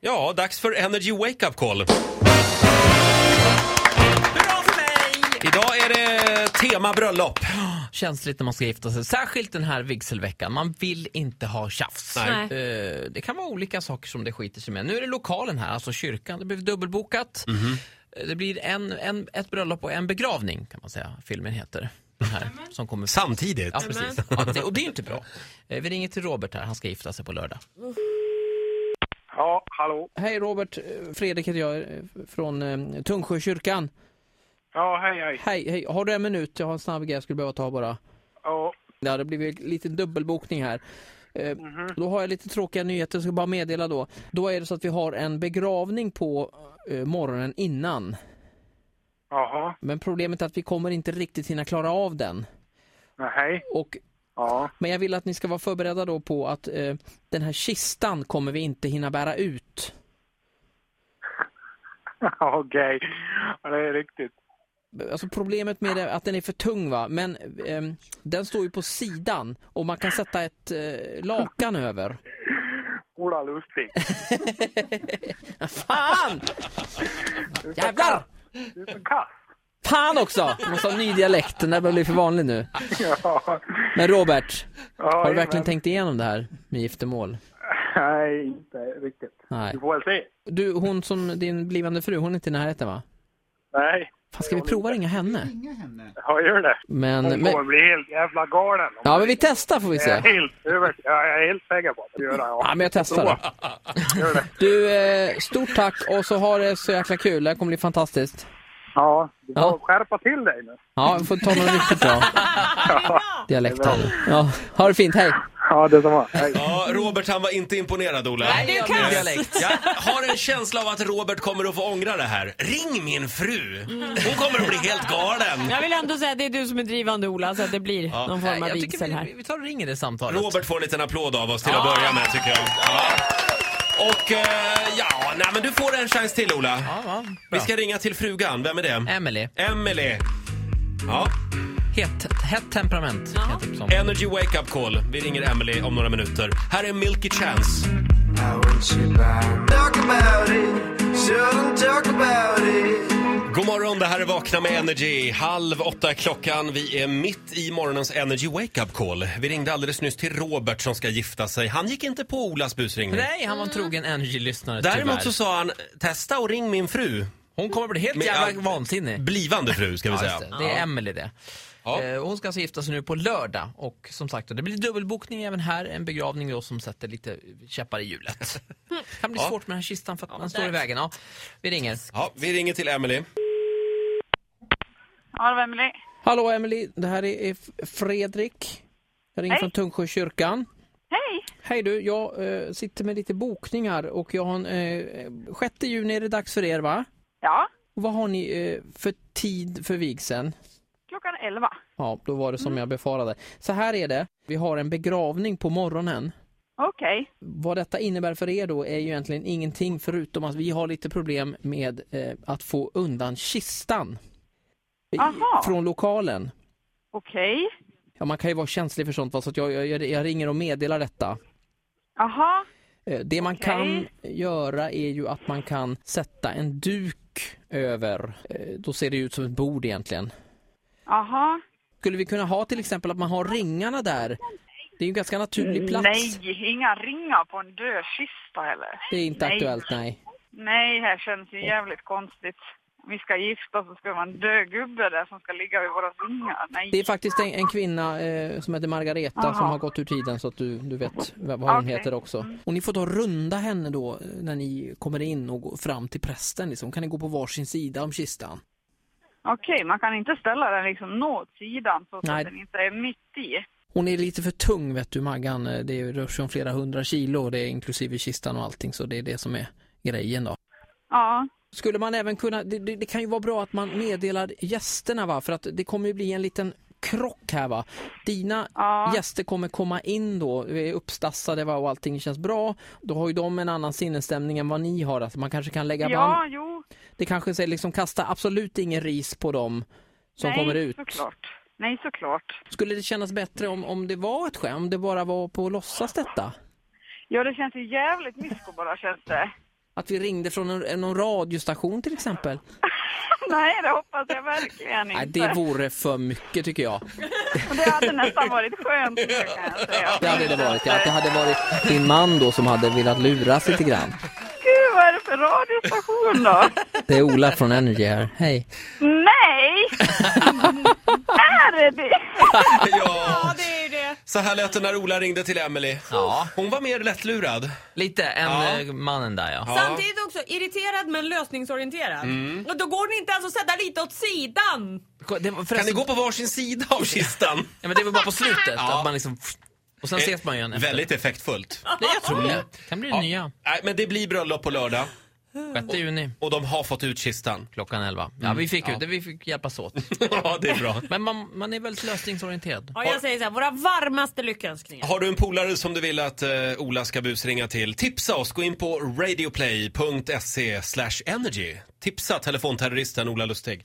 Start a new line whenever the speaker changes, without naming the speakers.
Ja, dags för Energy Wake Up Call.
Bra för mig!
Idag är det tema bröllop.
Känsligt när man ska gifta sig, särskilt den här vigselveckan. Man vill inte ha tjafs.
Nej.
Eh, det kan vara olika saker som det skiter sig med. Nu är det lokalen här, alltså kyrkan. Det blev dubbelbokat. Eh, Det blir en, en, ett bröllop och en begravning kan man säga, filmen heter. Den här, som kommer
Samtidigt.
Ja, precis. Ja, det, och det är ju inte bra. Eh, Vi ringer till Robert här, han ska gifta sig på lördag.
Ja, hallå.
Hej Robert, Eh, Fredrik heter jag eh, från eh, Tungsjökyrkan.
Ja, hej, hej.
Hej, hej, har du en minut? Jag har en snabb grej jag skulle behöva ta bara.
Ja,
Det hade blivit en liten dubbelbokning här. Eh, Då har jag lite tråkiga nyheter, jag ska bara meddela då. Då är det så att vi har en begravning på eh, morgonen innan.
jaha,
Men problemet är att vi kommer inte riktigt hinna klara av den.
nej,
Och,
ja,
men jag vill att ni ska vara förberedda då på att eh, den här kistan kommer vi inte hinna bära ut.
okej. Ja, det är riktigt.
Alltså problemet med det är att den är för tung va, men ehm, den står ju på sidan och man kan sätta ett eh, lakan över.
Ola Lustig,
Fan! Jävlar!
du är så kass.
Fan också! Jag måste ha en ny dialekt, den där börjar bli för vanlig nu.
Ja,
Men Robert,
ja,
har du verkligen
jajamän.
tänkt igenom det här med giftermål?
Nej, inte riktigt.
Nej.
Du får väl se.
Du, hon som, din blivande fru, hon är inte i närheten va?
Nej,
Fan, ska vi prova ringa henne?
ja, gör det.
Men,
Hon Eh, kommer
men,
bli helt jävla galen. om
ja men
det.
vi testar får vi
jag är
se.
helt över... ja, Jag är helt säker på att du gör det.
Ja
Ja,
men jag testar då.
gör det.
Du, eh, stort tack och så har det så jäkla kul, det här kommer bli fantastiskt.
Ja, du får
Ja.
skärpa till dig nu.
Ja, vi får ta någon riktigt bra dialekt här nu. Ja, ha det fint, hej!
Ja, detsamma. Hej.
Ja, Robert han var inte imponerad Ola.
Nej, det är ju kass. Dialekt.
Jag har en känsla av att Robert kommer att få ångra det här. Ring min fru!
Mm.
Hon kommer att bli helt galen.
Jag vill ändå säga att det är du som är drivande Ola, så att det blir någon form av
Jag tycker
vigsel
vi,
här.
vi tar och ringer det samtalet.
Robert får en liten applåd av oss till att börja med tycker jag. Ja. Och eh, ja, nej men du får en chans till Ola.
Ja, Eh. va?
Vi
Bra.
ska ringa till frugan. Vem är det?
Emily.
Emelie. Ja,
Hett, hett temperament. kan jag tipsa om.
Energy Wake Up Call. Vi ringer Emily om några minuter. Här är Milky Chance.
Talk about it, shouldn't talk about it.
God morgon, det här är Vakna med Energy. Halv åtta är klockan. Vi är mitt i morgonens Energy Wake Up Call. Vi ringde alldeles nyss till Robert som ska gifta sig. Han gick inte på Olas busringning.
Nej, han var en trogen Energy-lyssnare tyvärr.
Däremot så sa han, testa och ring min fru.
Hon kommer bli helt
Men
jävla
jag-
vansinnig.
Blivande fru ska vi
Ja,
säga.
just det. det är Emelie det.
Ja.
Eh, Hon ska alltså gifta sig nu på lördag och som sagt det blir dubbelbokning även här, en begravning då som sätter lite käppar i hjulet. Det kan bli
Ja.
svårt med den här kistan för att den står i vägen. Ja, vi ringer.
Ja, vi ringer till Emily.
Ja, det var Emelie.
Hallå Emily, det här är F- Fredrik. Jag ringer
Hej.
från Tungsjökyrkan.
Hej!
Hej du, jag eh, sitter med lite bokningar och jag har en, eh, 6 juni är det dags för er va?
Ja,
Och vad har ni eh, för tid för vigseln?
klockan är 11.
Ja, då var det
Mm.
som jag befarade. Så här är det, vi har en begravning på morgonen.
Okej.
Vad detta innebär för er då är ju egentligen ingenting förutom att vi har lite problem med eh, att få undan kistan i-
Aha.
från lokalen.
Okej.
Ja, man kan ju vara känslig för sånt, va, så att jag, jag, jag ringer och meddelar detta.
Jaha.
Eh, Det man
Okej.
kan göra är ju att man kan sätta en duk över, eh, då ser det ut som ett bord egentligen.
Jaha.
Skulle vi kunna ha till exempel att man har ringarna där? Det är ju en ganska naturlig plats.
Mm, Nej, inga ringar på en död kista heller.
Det är inte
Nej.
aktuellt, nej.
Nej, här känns ju jävligt konstigt. Om vi ska gifta så ska man dö gubbe där som ska ligga vid våra ringar. Nej.
Det är faktiskt en, en kvinna eh, som heter Margareta som har gått ur tiden så att du, du vet v- vad hon
Okej. Mm.
heter också. Och ni får ta och runda henne då eh, när ni kommer in och går fram till prästen liksom. Kan ni gå på varsin sida om kistan?
Okej, man kan inte ställa den liksom något sidan så
Nej.
att den inte är mitt i.
Hon är lite för tung vet du Maggan. Eh, Det rör sig om flera hundra kilo. Det är inklusive kistan och allting så det är det som är grejen då.
Ja.
Skulle man även kunna, det, det, det kan ju vara bra att man meddelar gästerna va, för att det kommer ju bli en liten krock här va. Dina
Ja.
gäster kommer komma in då, är uppstassade va och allting känns bra. Då har ju de en annan sinnesstämning än vad ni har. Alltså man kanske kan lägga
Ja,
band.
jo.
Det kanske säger liksom kasta absolut ingen ris på dem som
Nej,
kommer ut.
såklart. Nej, såklart.
Skulle det kännas bättre om, om det var ett skämt, om det bara var på att låtsas detta?
Ja, det känns ju jävligt mysko bara känns det.
Att vi ringde från en, någon radiostation till exempel.
Nej, det hoppas jag verkligen inte.
Nej, det vore för mycket tycker jag.
Och det hade nästan varit skönt, det kan jag säga.
Det hade det varit, ja. Att det hade varit din man då som hade velat luras lite grann.
Gud, vad är det för radiostation då?
Det är Ola från Energy här. Hej.
Nej! Där är det!
Ja.
det är ju det.
Så här lät det när Ola ringde till Emily.
Ja.
Hon var mer lättlurad.
Lite än
Ja.
eh, mannen där ja. Mm.
Samtidigt också irriterad men lösningsorienterad. Och då går det inte ens att sätta lite åt sidan.
Det var,
Kan ni
förresten,
gå på varsin sida av kistan?
ja, men det var bara på slutet.
Ja. Eh,
Att man liksom, och sen ses man ju igen efter.
Väldigt effektfullt.
Nej, jag tror det. Kan bli det nya.
Nej, men det blir bröllop på lördag
6 juni
och de har fått ut kistan.
klockan 11.
Mm.
Ja, vi fick ut det. Vi fick hjälpas åt.
ja, det är bra.
Men man, man är väldigt lösningsorienterad.
Ja, jag säger så här, våra varmaste lyckönskningar.
Har du en polare som du vill att eh, Ola ska busringa till, tipsa oss. Gå in på radioplay.se slash energy. Tipsa telefonterroristen Ola Lustig.